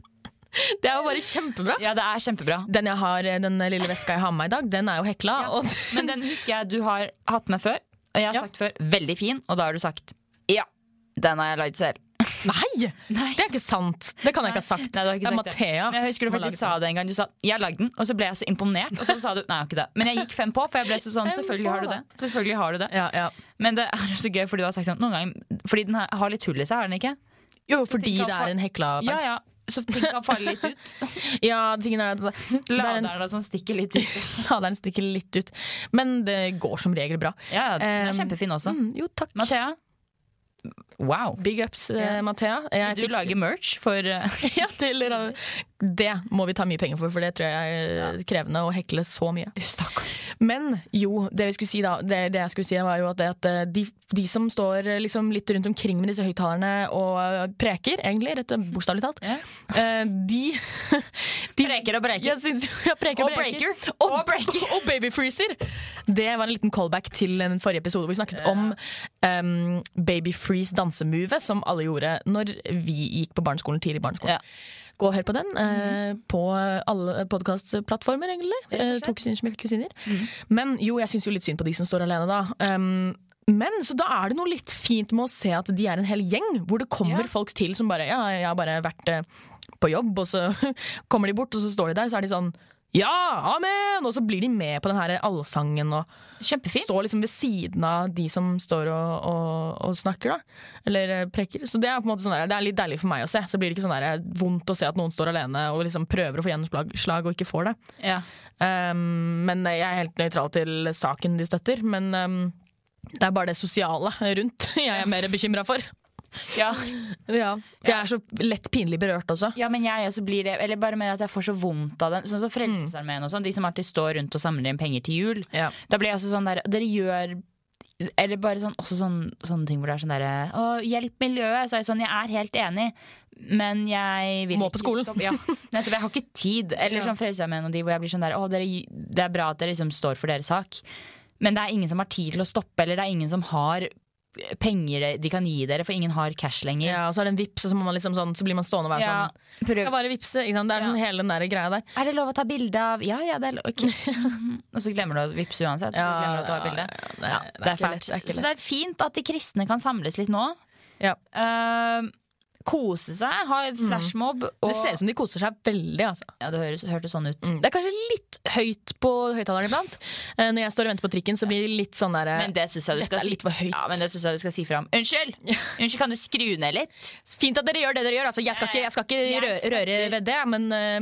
Det er jo bare kjempebra.
Ja, det er kjempebra.
Den, jeg har, eh, den lille veska jeg har med meg i dag, den er jo hekla. Og
Men den husker jeg du har hatt med før, og jeg har
Ja.
sagt før 'veldig fin', og da har du sagt 'ja, den har jeg lagd selv'.
nei!
Nei.
Det er ikke sant. Det kan jeg ikke ha sagt.
Nei, du har
det
ikke
er
sagt det.
Mathea.
Men jeg husker du
som har
faktisk
laget
sa det en gang. Du sa 'jeg har lagd den', og så ble jeg så imponert. Og så sa du 'nei, jeg har ikke det'. Men jeg gikk fem på, for jeg ble så sånn
Fem
'selvfølgelig har du
på.
det'. Selvfølgelig har du det.
den. ja, ja.
Men det er så gøy, fordi du har sagt sånn noen ganger Fordi den har- har litt hull i seg, har den ikke?
Jo, fordi
tenker jeg
det
for-
er en hekla
Ja ja. Så ting kan falle litt ut.
Ja, tingen er at det det er en
Laderen da, som stikker litt ut.
Laderen stikker litt ut. Men det går som regel bra.
Ja, ja, den er
Um,
kjempefin også.
Mm, jo, takk.
Mathea. Wow.
Big ups, eh,
Ja.
Mathea. Jeg
Du
fikk-
lager merch for eh,
ja, til, det må vi ta mye penger for, for det tror jeg er krevende å hekle så mye.
Stakkar.
Men jo, det, vi skulle si da, det, det jeg skulle si var jo at, det, at eh, de, de som står eh, liksom litt rundt omkring med disse høyttalerne og eh, preker, egentlig, rett og- bokstavelig talt,
Ja.
eh, de, de
Breker og breker.
Jeg syns jo ja, preker,
Og
breker.
breaker.
Og,
Og breaker.
og babyfreezer. Det var en liten callback til den forrige episode hvor vi snakket om um, babyfreeze dansemove, som alle gjorde når vi gikk på barneskolen, tidlig barneskolen.
Ja. Mhm.
Gå og hør på den eh, på alle podkastplattformer, egentlig. Eh, to kusiner som ikke kusiner.
Mhm.
Men jo, jeg syns jo litt synd på de som står alene, da. Um, men så da er det noe litt fint med å se at de er en hel gjeng, hvor det kommer
Ja.
folk til som bare Ja, jeg har bare vært eh, på jobb, og så kommer de bort, og så står de der, så er de sånn ja, amen! Og så blir de med på den her allsangen og
Kjempefint.
står liksom ved siden av de som står og, og, og snakker, da. Eller eh, prekker. Så det er på en måte sånn der, det er litt deilig for meg å se. Så blir det ikke sånn der eh, vondt å se at noen står alene og liksom prøver å få gjennomslag slag og ikke får det.
Ja.
Um, men jeg er helt nøytral til saken de støtter. Men um, det er bare det sosiale rundt jeg er mer bekymra for.
Ja.
Ja, for jeg er så lett pinlig berørt også.
ja, men jeg også blir det. Eller bare mer at jeg får så vondt av den. Sånn
Mm.
som Frelsesarmeen og sånn. De som alltid står rundt og samler inn penger til jul.
Ja.
Da blir jeg også sånn der Dere gjør eller bare sånn, også sånn, sånne ting hvor det er sånn derre Å, hjelp miljøet! Så er jeg sånn, jeg er helt enig, men jeg vil
Må på skolen.
stoppe- Ja, nettopp. Jeg har ikke tid. Eller
Ja.
sånn Frelsesarmeen og de hvor jeg blir sånn der Å, dere, det er bra at dere liksom står for deres sak, men det er ingen som har tid til å stoppe, eller det er ingen som har penger de kan gi dere, for ingen har cash lenger.
Ja, og så er det en vips, og så, må man liksom sånn, så blir man stående og være
Ja,
sånn
prøv.
Skal bare vipse. Ikke sant? Det er sånn hele den der greia der.
Er det lov å ta bilde av Ja, ja, det er lov. ok. Og så glemmer du å vippse uansett. så
Ja,
glemmer du å ta
ja,
bilde.
ja, det er- det
Ja,
er
det
ikke
er
lett,
fælt.
det er ikke
Så det er fint at de kristne kan samles litt nå.
Ja.
Eh, kose seg, ha flashmob. Og,
Det ser ut som de koser seg veldig. altså
ja, det høres, hørtes sånn ut.
Det er kanskje litt høyt på høyttaleren iblant. Eh, Når jeg står og venter på trikken, så blir det litt sånn der eh,
Men det syns jeg du
Dette
skal
er
si.
litt for høyt.
Ja, men det synes jeg du skal si fram. Unnskyld! Unnskyld, kan du skru ned litt?
Fint at dere gjør det dere gjør. Altså, jeg skal ikke, jeg skal ikke
Jeg
rø- røre
støtter-
ved det, men eh,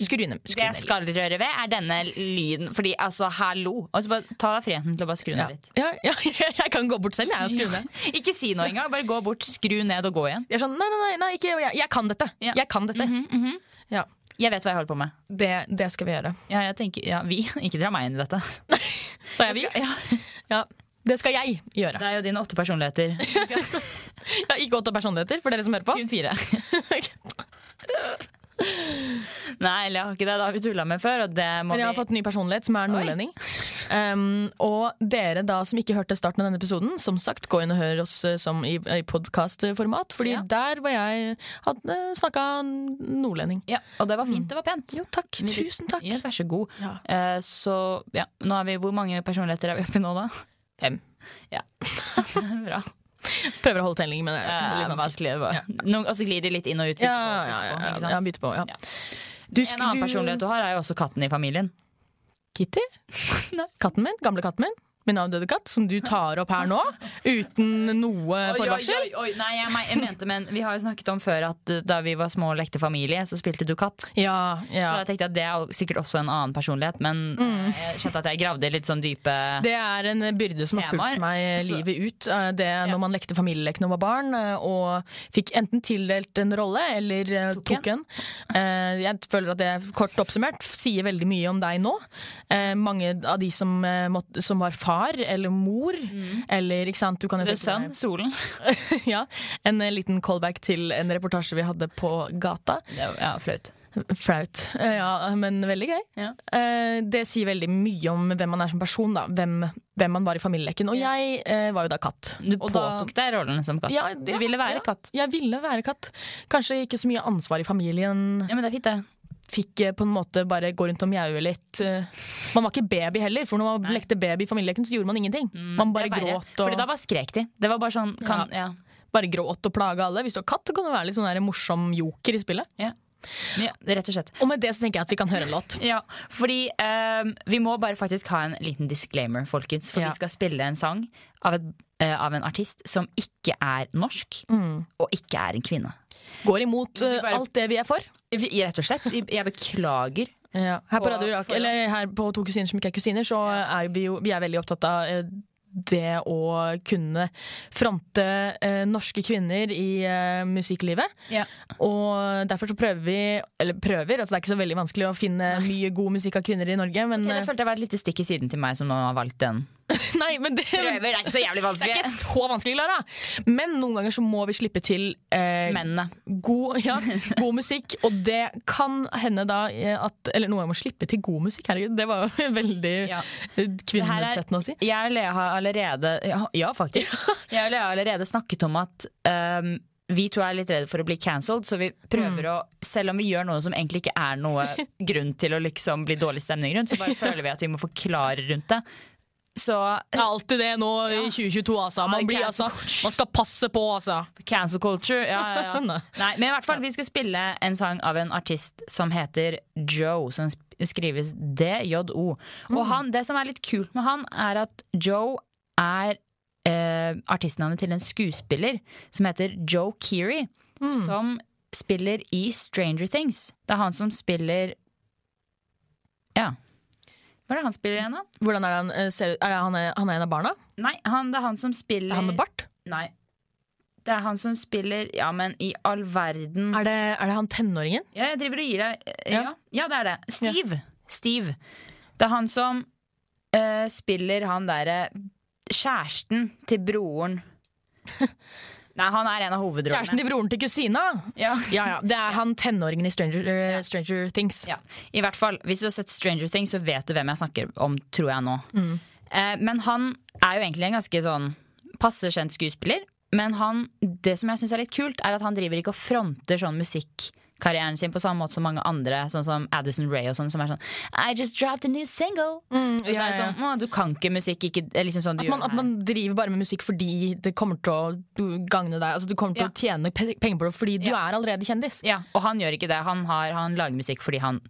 Skru ned. Skru
Det jeg
ned litt.
skal røre ved, er denne lyden. Fordi altså, hallo! Og så bare Ta deg friheten til å bare skru
Ja.
ned litt.
Ja, ja, jeg kan gå bort selv jeg, og skru ned.
Ikke si noe engang. Bare gå bort, skru ned og gå igjen.
Jeg er sånn, nei, nei, nei, nei ikke, jeg, jeg kan dette.
Ja.
Jeg kan dette. ja.
Mm, mhm. Jeg vet hva jeg holder på med.
det, det skal vi gjøre.
Ja, jeg tenker, ja, vi. Ikke dra meg inn i dette.
Sa jeg vi?
skal- ja.
Ja. Det skal jeg gjøre.
Det er jo dine åtte personligheter.
Jeg har ikke åtte personligheter, for dere som hører på.
Kun fire. Nei, eller jeg har ikke det. Det har vi tulla med før. Og det må
Men jeg har
vi...
fått ny personlighet, som er nordlending. Um, og dere da som ikke hørte starten av denne episoden, som sagt, gå inn og hør oss eh, som i, i podkastformat, fordi
Ja.
der var jeg hadde snakka nordlending.
ja, og det var fint. Det var pent.
Jo, takk. Tusen takk.
Ja, vær så god.
Ja.
Eh, så ja, nå er vi Hvor mange personligheter er vi oppe i nå, da?
Fem.
Bra.
Prøver å holde telling, men det
Eh,
er litt vanskelig.
vanskelig. det var. Noen- Og så glir de litt inn og ut. bytte
Ja,
på,
ja, ja,
bytte på, ikke
ja,
sant?
ja, bytte på. Ja.
Ja.
Du,
En annen personlighet du har, er jo også katten i familien.
Kitty? Katten min? Gamle katten min? Min avdøde katt, som du tar opp her nå, uten noe forvarsel.
Nei, jeg, me- jeg mente, men Vi har jo snakket om før at uh, da vi var små og lekte familie, så spilte du katt.
Ja, ja.
Så jeg tenkte at det er jo sikkert også en annen personlighet, men uh, jeg kjente at jeg gravde litt sånn dype
Det er en byrde som har
Temaer.
fulgt meg
Så-
livet ut. Eh, Det når man lekte familielek når man var barn eh, og fikk enten tildelt en rolle eller eh, tok en. Eh, Jeg føler at det kort oppsummert sier veldig mye om deg nå. Eh, Mange av de som, eh, måtte- som var far eller mor eller ikke sant, du kan jo
Mm. Eller
tenke
sønn,
deg-
solen.
ja, en eh, liten callback til en reportasje vi hadde på gata.
Det var, ja, flaut.
Flaut, Eh, ja, men veldig gøy.
Ja.
Eh, Det sier veldig mye om hvem man er som person, da. Hvem, hvem man var i familieleken. Og jeg eh, var jo da katt.
Du
Og da-
påtok deg rollen som katt.
Ja,
du
ja,
ville
ja.
være katt.
Jeg ville være katt. Kanskje ikke så mye ansvar i familien.
Ja, men det er fint, det.
Fikk eh, på en måte bare gå rundt og mjaue litt. Eh, Man var ikke baby heller, for når man lekte baby i familieleken, så gjorde man ingenting. Man bare
Mm, Det er verre.
gråt og,
Fordi da bare skrek de. Det var bare sånn kan, ja.
bare gråt og plaga alle. Hvis du er katt, så kan du være litt sånn der morsom joker i spillet.
Ja. rett og slett.
Og med det så tenker jeg at vi kan høre en låt.
Ja, fordi eh, vi må bare faktisk ha en liten disclaimer, folkens. For
Ja.
vi skal spille en sang av, et, eh, av en artist som ikke er norsk,
Mm.
og ikke er en kvinne.
Går imot eh,
bare-
alt det vi er for.
Vi, rett og slett. vi- Jeg beklager.
Ja. Her, på
På-
Radio Irak,
for-
eller her på To kusiner som ikke er kusiner, så er vi jo vi er veldig opptatt av eh, det å kunne fronte eh, norske kvinner i eh, musikklivet.
Ja.
Og derfor så prøver vi, eller prøver, altså det er ikke så veldig vanskelig å finne mye god musikk av kvinner i Norge, men
Jeg følte det var et lite stikk i siden til meg som nå har valgt den.
eh, Nei, men det,
Prøver er ikke så jævlig
det er
vanskelig.
ikke så vanskelig, Klara! Men noen ganger så må vi slippe til eh,
Mennene.
god, ja, god musikk, og det kan hende da eh, at Eller noe jeg må slippe til god musikk, herregud. Det var jo veldig
Ja.
kvinneutsettende å si.
Jeg og Lea har allerede Ja, ja faktisk. Jeg og Lea har allerede snakket om at ehm, vi to er litt redde for å bli cancelled, så vi prøver å Selv om vi gjør noe som egentlig ikke er noe grunn til å liksom bli dårlig stemning rundt, så bare føler vi at vi må forklare rundt det. Så eh,
Det er alltid det nå i 2022, altså. Man, blir, altså, man skal passe på, altså. Sånn
cancel culture, ja, ja, ja.
Nei.
Nei, men i hvert fall, vi skal spille en sang av en artist som heter Joe, som sp- skrives D-J-O. Og
Mm.
han, det som er litt kult med han, er at Joe er eh, artistnavnet til en skuespiller som heter Joe Keery,
Mm.
som spiller i Stranger Things. Det er han som spiller Ja. Hva er det han spiller igjen, da?
Hvordan er det han eh, ser ut? Er det han, er, han er en av barna?
Nei, han, det er han som spiller
Er han med bart?
Nei. Det er han som spiller Ja, men i all verden
Er det, er det han tenåringen?
Ja, jeg driver og gir deg eh,
Ja.
Ja, ja det er det. Steve. Steve. Det er han som eh, spiller han derre kjæresten til broren Nei, han er en av hovedrollene.
Kjæresten til broren til kusina!
ja.
Ja, ja. Det er han tenåringen i Stranger, eh, Stranger Things.
ja. I hvert fall, hvis du har sett Stranger Things, så vet du hvem jeg snakker om, tror jeg nå.
Mm.
Eh, men han er jo egentlig en ganske sånn passe kjent skuespiller. Men han, det som jeg syns er litt kult, er at han driver ikke og fronter sånn musikkarrieren sin på samme måte som mange andre, sånn som Addison Rae og sånn, som er sånn I just dropped a new single. og så
Mm. ja,
er det
ja.
sånn, «Å, du kan ikke musikk, ikke det er liksom sånn
At
du
man,
gjør
at man driver bare med musikk fordi det kommer til å du- gagne deg. Altså Du kommer til å tjene pe- penger på det fordi du er allerede kjendis.
Ja, og han gjør ikke det. Han, har, han lager musikk fordi han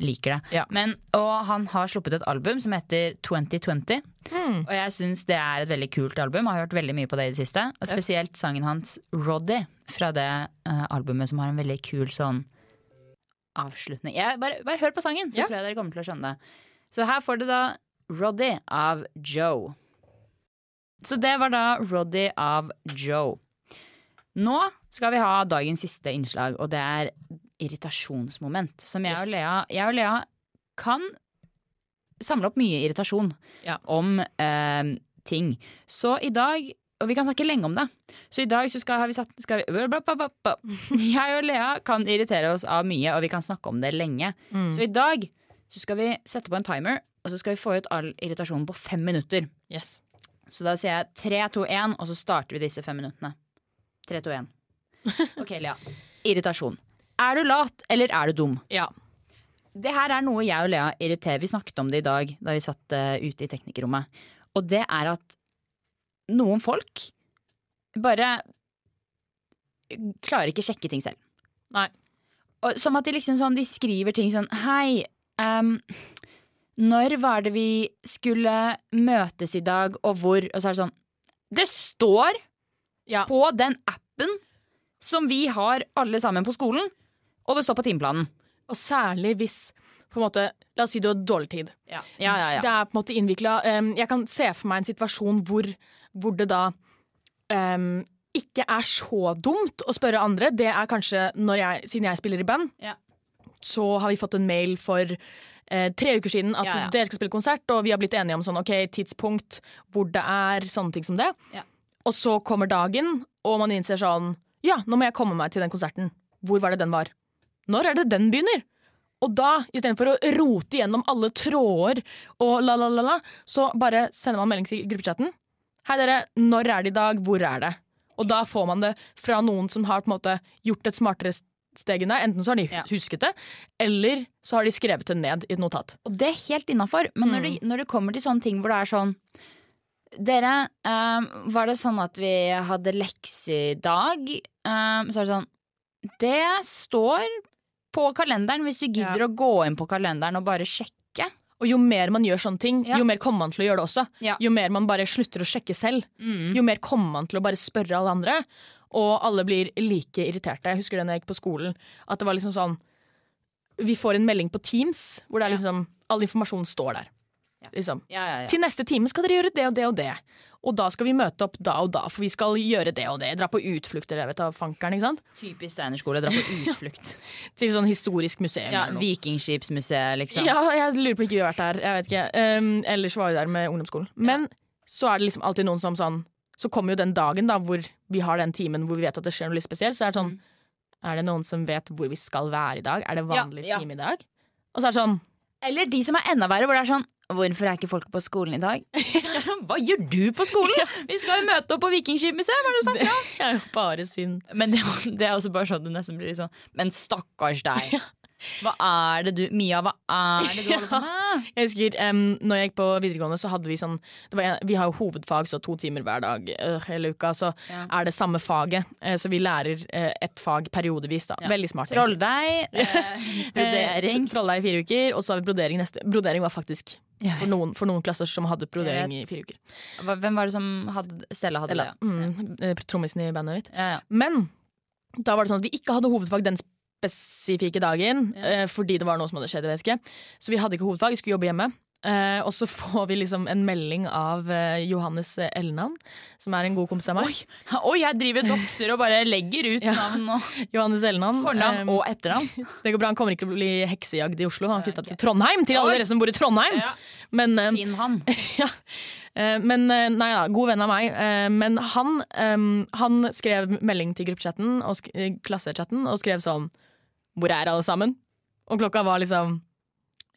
liker det.
Ja.
Men, og han har sluppet et album som heter 2020.
Mm.
Og jeg syns det er et veldig kult album. Jeg har hørt veldig mye på det i det siste. Og spesielt sangen hans 'Roddy' fra det eh, albumet som har en veldig kul sånn avsluttende. Jeg, bare, bare hør på sangen, så
Ja.
tror jeg dere kommer til å skjønne det. Så her får du da Roddy av Joe. Så det var da Roddy av Joe. Nå skal vi ha dagens siste innslag, og det er irritasjonsmoment. Som jeg og
Yes.
Lea, jeg og Lea kan samle opp mye irritasjon
Ja.
om eh, ting. Så i dag og vi kan snakke lenge om det. Så i dag så skal, har vi satt skal vi, bla, bla, bla, bla. Jeg og Lea kan irritere oss av mye, og vi kan snakke om det lenge.
Mm.
Så i dag så skal vi sette på en timer, og så skal vi få ut all irritasjonen på fem minutter.
Yes.
Så da sier jeg 3, 2, 1, og så starter vi disse fem minuttene. 3, 2, 1. Ok, Lea. Irritasjon. Er du lat, eller er du dum?
Ja.
Det her er noe jeg og Lea irriterer. Vi snakket om det i dag da vi satt eh, ute i teknikerrommet. Og det er at noen folk bare klarer ikke sjekke ting selv.
Nei.
Og, som at de liksom sånn, de skriver ting sånn Hei, ehm, når var det vi skulle møtes i dag, og hvor? Og så er det sånn Det står
Ja.
på den appen som vi har alle sammen på skolen, og det står på timeplanen.
Og særlig hvis på en måte, La oss si du har dårlig tid.
Ja, ja, ja,
Det er på en måte innvikla Jeg kan se for meg en situasjon hvor, hvor det da ehm, em, ikke er så dumt å spørre andre. Det er kanskje når jeg, siden jeg spiller i band,
Ja.
så har vi fått en mail for eh, tre uker siden at
Ja, ja.
dere skal spille konsert, og vi har blitt enige om sånn, ok, tidspunkt, hvor det er, sånne ting som det.
Ja.
Og så kommer dagen, og man innser sånn Ja, nå må jeg komme meg til den konserten. Hvor var det den var? Når er det den begynner? Og da, istedenfor å rote gjennom alle tråder og la, la, la, la, så bare sender man melding til gruppechatten. Hei, dere, når er det i dag? Hvor er det? Og da får man det fra noen som har på en måte gjort et smartere s- steg enn deg. Enten så har de
Ja.
husket det, eller så har de skrevet det ned i et notat.
Og det er helt innafor. Men når, det, når det kommer til sånne ting hvor det er sånn Dere, ehm, var det sånn at vi hadde lekser i dag? Ehm, så er det sånn Det står på kalenderen, hvis du gidder å gå inn på kalenderen og bare sjekke.
Og jo mer man gjør sånne ting,
Ja.
jo mer kommer man til å gjøre det også.
Ja. Mm.
Jo mer man bare slutter å sjekke selv, jo mer kommer man til å bare spørre alle andre. Og alle blir like irriterte. Jeg husker det når jeg gikk på skolen. At det var liksom sånn Vi får en melding på Teams hvor det er liksom all informasjon står der.
Ja.
Liksom.
Ja, ja, ja.
Til neste time skal dere gjøre det og det og det. Og da skal vi møte opp da og da, for vi skal gjøre det og det. Dra på utflukter, jeg vet da fankeren, ikke sant?
Typisk Steinerskole, dra på utflukt.
Til sånn historisk museum
ja,
eller noe.
Vikingskipsmuseet, liksom.
Ja, jeg lurer på ikke vi har vært der. Jeg vet ikke. Um, ellers var vi der med ungdomsskolen. Men så er det liksom alltid noen som sånn Så kommer jo den dagen da hvor vi har den timen hvor vi vet at det skjer noe litt spesielt. Så er det sånn Er det noen som vet hvor vi skal være i dag? Er det vanlig
Ja, ja.
time i dag? Og så er det sånn
Eller de som er enda verre, hvor det er sånn Hvorfor er ikke folk på skolen i dag? sånn, Hva gjør du på skolen? Vi skal jo møte opp på Vikingskipmuseet! Hva er det du snakker om?
Det er jo bare synd.
Men det, det er også bare sånn du nesten blir litt sånn Men stakkars deg. Hva er det du Mia, hva er det du holder på med?
Jeg husker um, når jeg gikk på videregående, så hadde vi sånn det var en, Vi har jo hovedfag, så to timer hver dag øh, hele uka. Så
Ja.
er det samme faget. eh, så vi lærer eh, ett fag periodevis, da.
Ja.
Veldig smart. egentlig.
Trolldeig, eh, brodering
Eh, Trolla i fire uker, og så har vi brodering neste Brodering var faktisk for noen, for noen klasser som hadde brodering i
Jeg vet.
fire uker.
Hva- Hvem var det som hadde Stella hadde
Eller,
det?
mm, eh, Trommisen i bandet mitt.
Ja, ja.
Men da var det sånn at vi ikke hadde hovedfag den spesifikke dagen,
Ja.
eh, fordi det var noe som hadde skjedd, jeg vet ikke. Så vi hadde ikke hovedfag, vi skulle jobbe hjemme. Eh, og så får vi liksom en melding av eh, Johannes Elnan, som er en god kompis av meg.
Ja, Oi, jeg driver dokser og bare legger ut
Ja.
navn og
Johannes Elnan
fornavn
eh,
og etternavn.
Det går bra, Han kommer ikke til å bli heksejagd i Oslo. Han
Nei,
flytta
ok.
til Trondheim, til alle
Oi.
dere som bor i Trondheim!
Ja.
Men eh,
Finn han.
Ja. Eh, Men eh, nei da, god venn av meg. Eh, Men han, eh, han skrev melding til gruppechatten og sk eh, klassechatten og skrev sånn Hvor er alle sammen? Og klokka var liksom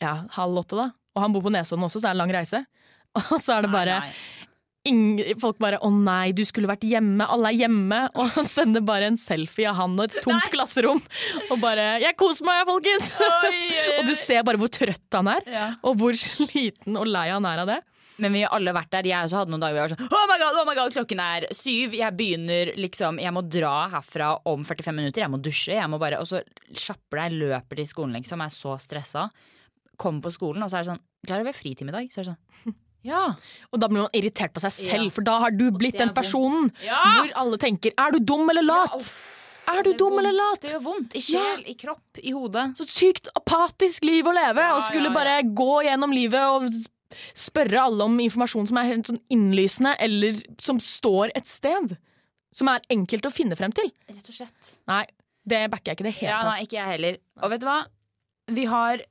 ja, halv åtte, da. Og han bor på Nesodden også, så det er en lang reise. Og så er det bare
Ah, Nei, nei.
ing- Folk bare 'Å nei, du skulle vært hjemme. Alle er hjemme.' Og han sender bare en selfie av han og et tomt klasserom. Og bare 'Jeg koser meg, folkens!'
oi,
Og du ser bare hvor trøtt han er,
Ja.
og hvor sliten og lei han er av det.
Men vi har alle vært der. Jeg også hadde noen dager hvor jeg var sånn Oh my god, oh my god, klokken er syv. Jeg begynner liksom Jeg må dra herfra om 45 minutter. Jeg må dusje. Jeg må bare Og så kjapper deg, løper til skolen, liksom. Jeg er så stressa. Kommer på skolen, og så er det sånn Klarer du å være fritime i dag? Så er det sånn Ja.
Og da blir man irritert på seg selv,
Ja.
for da har du blitt
det er
den personen
Ja!
hvor alle tenker 'er du dum eller lat?' Er du dum eller lat?
Det gjør vondt. I sjel, i kropp, i hodet.
Så sykt apatisk liv å leve!
Ja,
og skulle
ja, ja.
bare gå gjennom livet og spørre alle om informasjon som er helt sånn innlysende, eller som står et sted. Som er enkelt å finne frem til.
Rett og slett.
Nei, det backer jeg ikke i det hele
Ja,
tatt.
nei, ikke jeg heller. Og vet du hva? Vi har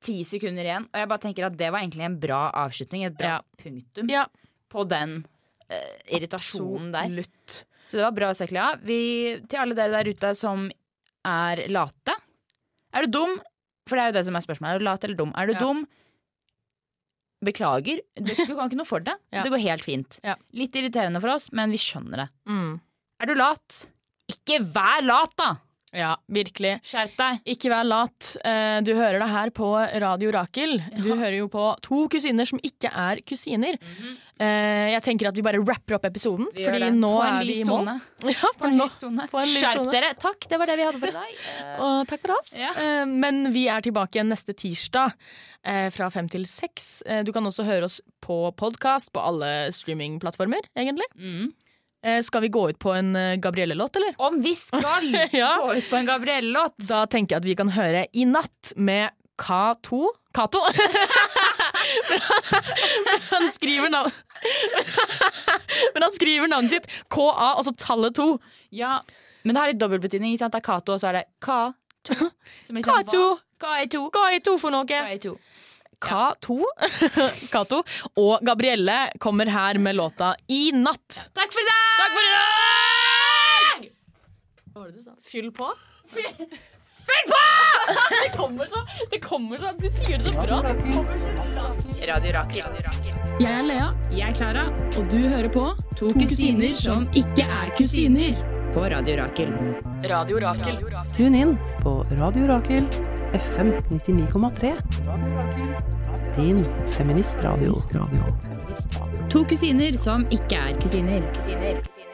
ti sekunder igjen, og jeg bare tenker at det var egentlig en bra avslutning. Et bra
Ja.
punktum
Ja.
på den eh, irritasjonen der.
Absolutt.
Så det var bra, Seklia. Vi, til alle dere der ute som er late. Er du dum? For det er jo det som er spørsmålet. Er du lat eller dum? Er du
Ja.
dum? Beklager. Du, du kan ikke noe for det.
Ja.
Det går helt fint.
Ja.
Litt irriterende for oss, men vi skjønner det.
Mm.
Er du lat? Ikke vær lat, da!
Ja, virkelig.
Skjerp deg.
Ikke vær lat. Eh, Du hører det her på Radio Rakel. Du hører jo på to kusiner som ikke er kusiner. Eh, Jeg tenker at vi bare rapper opp episoden,
Vi gjør
fordi
det.
nå
På en
er vi
lys
i mål.
tone.
Ja,
På en lys tone.
På en lys
Skjerp
tone.
dere. Takk, det var det vi hadde for i dag. Eh,
Og takk for oss.
Ja.
Eh, Men vi er tilbake igjen neste tirsdag eh, fra fem til seks. Eh, Du kan også høre oss på podkast på alle streamingplattformer, egentlig.
Mm.
Eh, Skal vi gå ut på en eh, Gabrielle-låt, eller?
Om vi skal
Ja.
gå ut på en Gabrielle-låt
Da tenker jeg at vi kan høre I natt med K2 Kato! Men han skriver navn Men han skriver navnet sitt KA, altså tallet 2.
Ja, men det har litt dobbeltbetydning. ikke sant? Det er Kato, og så er det Ka. To, som liksom hva?
Kato!
Kaito.
Kaito for noe!
Kaito.
K2 Kato og Gabrielle kommer her med låta I natt.
Takk for i dag! Takk for i dag!
Fyll på. Fyll på! Det kommer så, det kommer så Du sier det så bra.
Radio Rakel. Radio Rakel.
Jeg er Lea. Jeg er Klara.
Og du hører på
To kusiner som ikke er kusiner.
På Radio Rakel.
Radio Rakel.
Tune inn på Radio Rakel FM 99,3. Din feministradio. Feministradio.
To kusiner som ikke er kusiner. kusiner. kusiner.